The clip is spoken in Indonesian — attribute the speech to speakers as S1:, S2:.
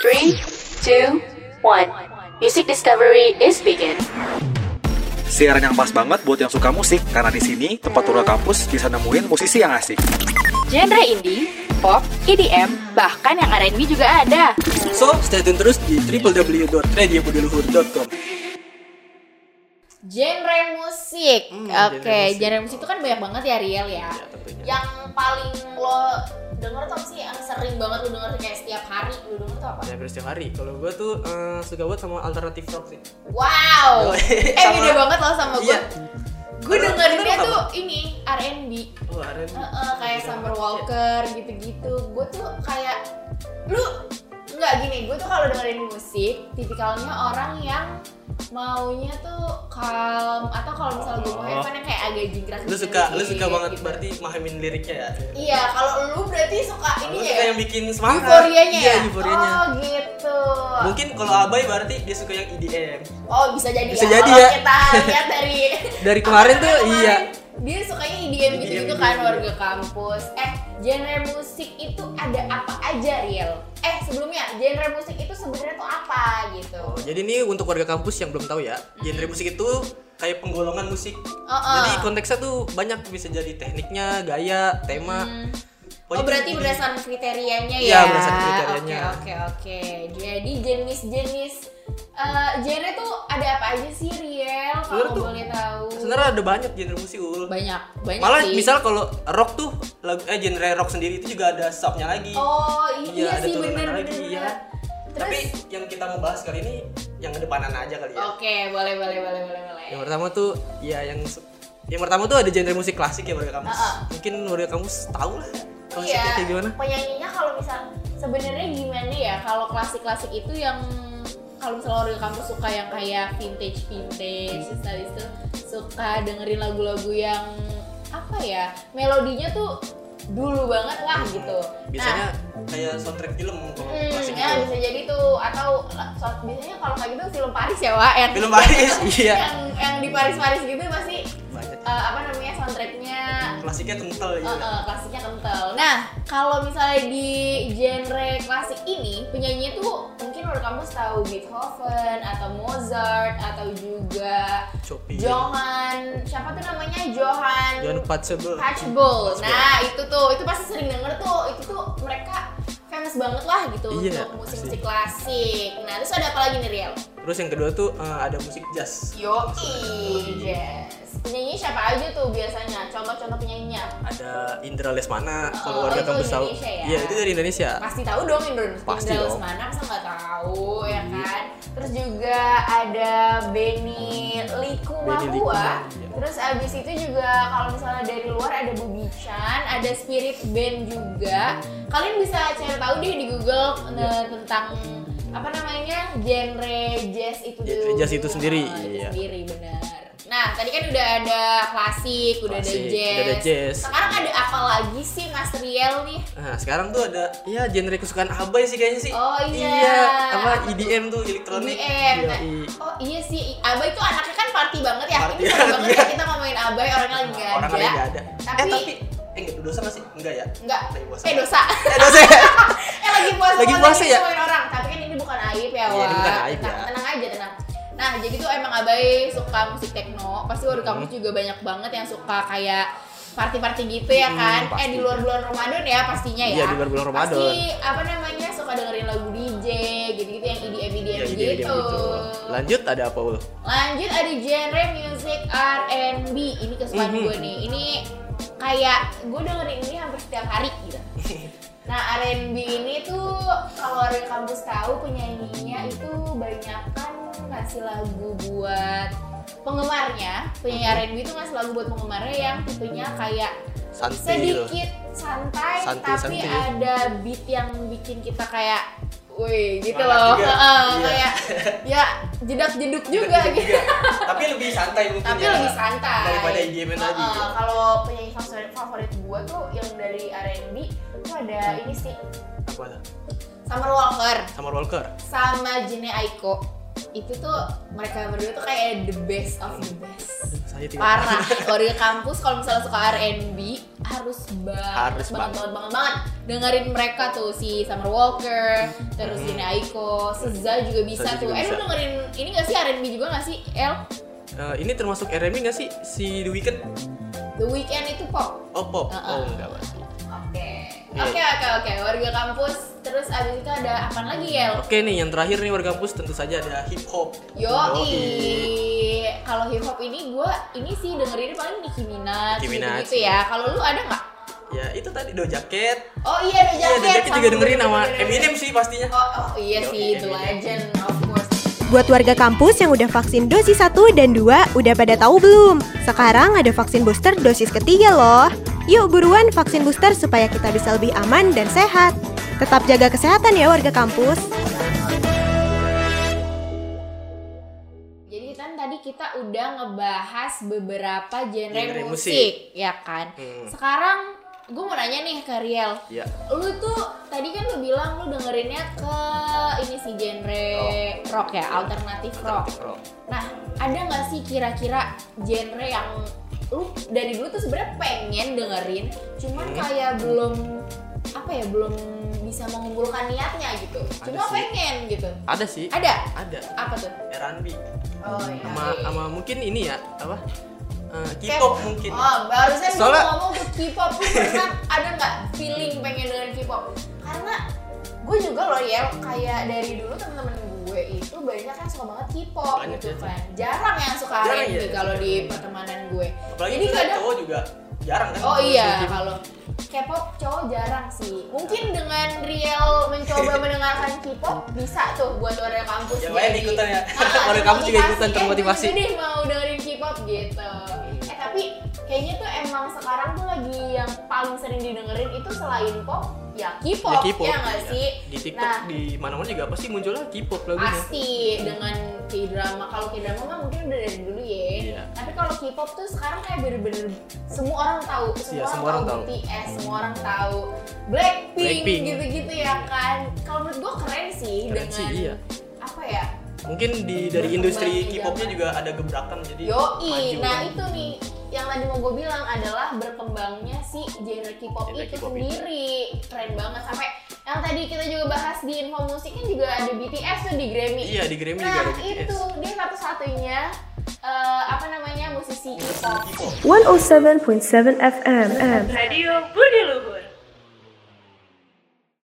S1: Three, two, one. Music discovery is begin.
S2: Siaran yang pas banget buat yang suka musik karena di sini tempat turun kampus bisa nemuin musisi yang asik.
S1: Genre indie, pop, EDM, bahkan yang R&B juga ada.
S3: So, stay tune terus di www.radiobudiluhur.com
S4: Genre musik.
S3: Hmm,
S4: Oke, genre, musik itu kan banyak banget ya Riel
S3: Iya,
S4: ya.
S3: tentunya.
S4: Yang paling lo denger tuh apa sih yang sering banget lo denger tuh kayak setiap hari lo denger tuh apa?
S3: Hampir setiap Nah, hari. Kalau gue tuh eh, suka banget sama alternatif rock sih. Oh,
S4: Wow. eh
S3: iya. Sama-
S4: beda banget lo sama gue.
S3: Iya.
S4: Gue dengerinnya
S3: Apa?
S4: tuh ini R&B.
S3: Oh, R&B.
S4: Heeh, kayak
S3: Iya,
S4: Summer Walker gitu-gitu. Gue tuh kayak lu nggak gini, gue tuh kalau dengerin musik tipikalnya orang yang maunya tuh calm atau kalau misalnya gue mau
S3: Oh.
S4: have fun yang kayak agak jingkrak
S3: Lu suka, lu suka
S4: sedikit
S3: banget
S4: gitu.
S3: berarti mahamin liriknya ya.
S4: Iya, kalau lu berarti suka ini
S3: Lu
S4: ya.
S3: suka yang bikin semangat.
S4: Euforianya
S3: Iya,
S4: ya?
S3: euforianya.
S4: Oh gitu.
S3: Mungkin kalau Abai berarti dia suka yang E EDM.
S4: Oh bisa jadi
S3: Bisa
S4: ya.
S3: jadi
S4: Kalau
S3: ya.
S4: kita lihat dari
S3: Dari kemarin tuh,
S4: Kemarin
S3: iya. E
S4: Dia sukanya EDM gitu gitu
S3: EDM.
S4: kan warga kampus. Eh genre musik itu ada apa aja Riel? Eh sebelumnya genre musik itu sebenarnya tuh apa gitu?
S3: Oh, jadi ini untuk warga kampus yang belum tahu ya, genre musik itu kayak penggolongan musik.
S4: Oh, oh.
S3: Jadi konteksnya tuh banyak bisa jadi tekniknya, gaya, tema.
S4: Hmm.
S3: Pokoknya tuh
S4: Oh berarti
S3: jadi-
S4: berdasarkan kriterianya ya?
S3: Iya, berdasarkan kriterianya.
S4: Oke oke oke. Jadi jenis-jenis eh, genre tuh ada apa aja sih Riel?
S3: Sebenarnya
S4: Kalau
S3: tuh-
S4: boleh tahu.
S3: Sebenarnya ada banyak genre musik ul.
S4: banyak banyak
S3: Malah
S4: sih.
S3: misal kalau rock tuh lagu eh genre rock sendiri itu juga ada subnya lagi.
S4: Oh iya,
S3: Iya, ada
S4: sih
S3: turunan
S4: bener
S3: lagi,
S4: bener.
S3: iya.
S4: Terus
S3: Tapi yang kita mau bahas kali ini yang kedepanan aja kali ya.
S4: oke boleh boleh boleh boleh boleh.
S3: Yang pertama tuh ya yang se- yang pertama tuh ada genre musik klasik ya warga kampus.
S4: Ah, ah.
S3: Mungkin warga kampus tahu
S4: Iya.
S3: lah klasiknya kayak gimana.
S4: penyanyinya kalau misal sebenarnya gimana ya kalau klasik klasik itu yang kalau misalnya orang kamu suka yang kayak vintage vintage terus habis itu suka dengerin lagu-lagu yang apa ya melodinya tuh dulu banget lah gitu.
S3: Biasanya kayak soundtrack film kalau
S4: Hmm,
S3: klasik gitu.
S4: ya
S3: itu.
S4: bisa jadi tuh atau so- biasanya kalau kayak gitu film Paris ya Wak yang
S3: Film Paris, iya.
S4: yang yang di Paris Paris gitu pasti
S3: Banyak.
S4: eh, apa namanya soundtracknya
S3: Klasiknya kental
S4: eh,
S3: gitu.
S4: eh, klasiknya kental. Nah kalau misalnya di genre klasik ini penyanyinya tuh mungkin menurut kamu tahu Beethoven atau Mozart atau juga
S3: Chopin.
S4: Johann siapa tuh namanya Johann
S3: Jangan patchable.
S4: Touchable. Nah, itu tuh, itu pasti sering denger tuh. Itu tuh mereka famous banget lah gitu
S3: Iya,
S4: untuk musik-musik klasik. Nah, terus ada apa lagi nih Riel?
S3: Terus yang kedua tuh eh, ada musik jazz.
S4: Yoi, jazz. Penyanyi siapa aja tuh biasanya? Contoh-contoh penyanyinya.
S3: Ada Indra Lesmana
S4: Oh,
S3: kalau warga
S4: itu
S3: kampus tahu.
S4: Indonesia ya?
S3: Iya, itu dari Indonesia.
S4: Pasti tahu dong Indonesia
S3: Pasti dong. Iya.
S4: mana masa nggak tahu ya kan? Terus juga ada Benny
S3: Hmm. Benny
S4: Likumahua.
S3: Likumahua, iya.
S4: Terus abis itu juga kalau misalnya dari luar ada Bubi Chan, ada Spirit Band juga. Kalian bisa cari tahu deh di Google
S3: Iya.
S4: eh, tentang apa namanya genre jazz itu
S3: Genre
S4: dulu.
S3: jazz itu sendiri,
S4: Eh, itu
S3: iya.
S4: sendiri benar. Nah tadi kan udah ada klasik, udah
S3: Klasik,
S4: ada
S3: udah
S4: jazz.
S3: ada jazz.
S4: Sekarang ada apa lagi sih Mas Riel nih?
S3: Nah, sekarang tuh ada ya genre kesukaan abai sih kayaknya sih.
S4: Oh, iya.
S3: apa EDM tuh elektronik.
S4: DM.
S3: Iya,
S4: Nah,
S3: i-
S4: oh iya sih, Abai tuh anaknya kan party banget ya.
S3: Party
S4: Ini seru banget
S3: banget,
S4: ya kita ngomongin Abai orangnya lagi nggak
S3: Orang
S4: ada. ya?
S3: lain nggak ada.
S4: Tapi-
S3: eh, tapi eh enggak dosa nggak sih? Enggak ya?
S4: Enggak.
S3: Lagi puasa.
S4: Eh dosa.
S3: Eh, dosa. ya?
S4: eh lagi puasa.
S3: Lagi
S4: mau
S3: puasa
S4: tadi
S3: ya?
S4: ngomongin orang, tapi kan ini bukan aib ya,
S3: Iya,
S4: Wak.
S3: ini bukan aib
S4: Tenang-
S3: ya.
S4: Tenang aja, tenang. Nah, jadi tuh emang Abai suka musik techno. Pasti waktu
S3: Hmm.
S4: kamu juga banyak banget yang suka kayak party-party gitu ya
S3: Hmm,
S4: kan. eh
S3: pasti.
S4: di luar bulan Ramadan ya pastinya ya.
S3: Iya, di luar bulan
S4: Pasti
S3: Ramadan.
S4: apa namanya suka dengerin lagu DJ gitu-gitu yang E EDM EDM,
S3: Iya, EDM gitu.
S4: gitu.
S3: Lanjut ada apa ul?
S4: Lanjut ada genre music R&B. Ini kesukaan
S3: Mhm.
S4: gue nih. Ini kayak gue dengerin ini hampir setiap hari gitu. Nah R&B ini tuh kalau orang kampus tahu penyanyinya itu banyak kan ngasih lagu buat penggemarnya.
S3: Mhm.
S4: Penyanyi R&B itu ngasih lagu buat penggemarnya yang tipenya kayak
S3: Santai gitu.
S4: sedikit santai,
S3: Santai,
S4: tapi
S3: santai.
S4: ada beat yang bikin kita kayak Wih gitu
S3: Semangat
S4: loh,
S3: juga.
S4: Heeh,
S3: Iya.
S4: kayak ya jedak jeduk juga gitu
S3: tapi lebih santai mungkin
S4: tapi
S5: Iya.
S3: ya.
S4: lebih santai
S3: daripada E IGM
S4: Heeh,
S3: tadi
S4: kalau penyanyi favorit favorit gue tuh yang dari R&B tuh ada ini sih
S3: apa tuh?
S4: Summer Walker
S3: Summer Walker
S4: sama Jene Aiko itu tuh mereka berdua tuh kayak the best of the best
S3: Aduh, saya tidak.
S4: parah Warga kampus kalau misalnya suka R&B harus banget
S5: Harus
S4: banget,
S5: banget.
S4: banget banget banget dengerin mereka tuh si Summer Walker terus ini Aiko Seza juga bisa
S5: Seza
S4: tuh
S5: Hmm. juga
S4: eh lu
S5: bisa.
S4: dengerin ini gak sih R&B juga gak sih El
S3: Eh, ini termasuk RMI nggak sih si The Weeknd?
S4: The Weeknd itu pop
S3: Oh pop.
S4: Uh-uh.
S3: Oh enggak pasti.
S4: oke
S5: Iya.
S4: oke oke oke warga kampus terus abis itu ada apa lagi El
S3: Oke nih yang terakhir nih warga kampus tentu saja ada hip hop.
S4: Yoi, kalau hip hop ini gue ini sih dengerinnya paling Nicki Minaj,
S3: Nicki Minaj.
S4: gitu ya. Kalau lu ada nggak?
S3: Ya itu tadi do jaket.
S4: Oh iya, The
S3: Iya
S4: Jacket.
S3: do jaket juga
S4: sama-
S3: dengerin sama
S4: bener-bener.
S3: Eminem sih pastinya.
S4: Oh, oh iya
S3: Yo,
S4: sih,
S3: iya,
S4: itu
S3: iya, iya.
S4: legend of course.
S6: Buat warga kampus yang udah vaksin dosis 1 dan 2, udah pada tahu belum? Sekarang ada vaksin booster dosis ketiga loh. Yuk buruan vaksin booster supaya kita bisa lebih aman dan sehat. Tetap jaga kesehatan ya warga kampus.
S4: Jadi kan tadi kita udah ngebahas beberapa genre,
S3: Genre
S4: musik,
S3: musik.
S4: ya kan?
S3: Hmm.
S4: Sekarang gue mau nanya nih ke Riel.
S5: Iya.
S4: Lu tuh tadi kan lu bilang lu dengerinnya ke ini sih genre rock ya, alternatif rock.
S5: Rock.
S4: Nah, ada nggak sih kira-kira genre yang lu dari dulu tuh sebenarnya pengen dengerin, cuman kayak belum apa ya, belum bisa mengumpulkan niatnya gitu.
S5: Ada
S4: Cuma
S5: sih.
S4: pengen gitu.
S5: Ada sih.
S4: Ada?
S5: Ada.
S4: Apa tuh?
S3: R&B.
S4: Oh iya.
S3: Sama sama mungkin ini ya apa? Eh,
S4: Kayak-
S3: K-pop mungkin.
S4: Oh, barusan
S5: Soalnya-
S4: gue ngomong ke K-pop lu pernah ada nggak feeling pengen dengerin K-pop? Karena gue juga loh ya kayak dari dulu temen-temen gue itu banyak yang suka banget K-pop
S3: Banyak
S4: gitu
S3: ya.
S4: kan. Jarang yang suka
S3: Jarang
S4: R&B
S3: ya.
S4: kalau di pertemanan gue.
S3: Apalagi
S4: Jadi
S3: kita
S4: kadang
S3: cowok juga jarang kan.
S4: Oh iya,
S3: K-pop.
S4: kalau K-pop cowok jarang sih. Mungkin dengan real mencoba mendengarkan K-pop bisa tuh buat orang kampus.
S3: Yang
S4: jadi-
S3: lain ikutan ya.
S4: Ah,
S3: Orang kampus juga
S4: termotivasi.
S3: ikutan,
S4: Eh,
S3: termotivasi.
S4: gue juga deh mau dengerin K-pop gitu.
S3: Iya.
S4: Eh tapi kayaknya tuh emang sekarang tuh lagi yang paling sering didengerin itu selain pop ya K-pop
S3: Ya,
S4: ya,
S3: K-pop.
S4: nggak
S3: Iya.
S4: sih?
S3: Di TikTok
S4: Nah,
S3: di mana-mana juga pasti muncul lah K-pop lagunya.
S4: pasti dengan K-drama kalau K-drama mah mungkin udah dari dulu ya
S3: Iya.
S4: tapi kalau K-pop tuh sekarang kayak bener-bener semua orang tahu
S3: Iya,
S4: semua, orang,
S3: semua orang
S4: tahu,
S3: tahu.
S4: BTS semua orang tahu Blackpink,
S3: Blackpink.
S4: gitu-gitu ya kan kalau menurut gue keren sih
S3: Keren
S4: dengan
S3: sih, iya.
S4: apa ya
S3: Mungkin di dari industri
S4: Berkembang di
S3: K-popnya
S4: zaman.
S3: juga ada gebrakan jadi
S4: yoi
S3: maju. kan?
S4: nah itu nih yang tadi mau gue bilang adalah berkembangnya si genre K-pop
S5: Genre
S4: itu
S5: K-pop itu.
S4: sendiri keren banget sampai yang tadi kita juga bahas di info musik kan juga ada BTS tuh di Grammy
S3: Iya di Grammy juga
S4: Nah
S3: ada BTS.
S4: itu dia satu-satunya eh, apa namanya musisi K-pop.
S3: K-pop.
S7: 107.7 FM.
S8: Radio Budi Luhur.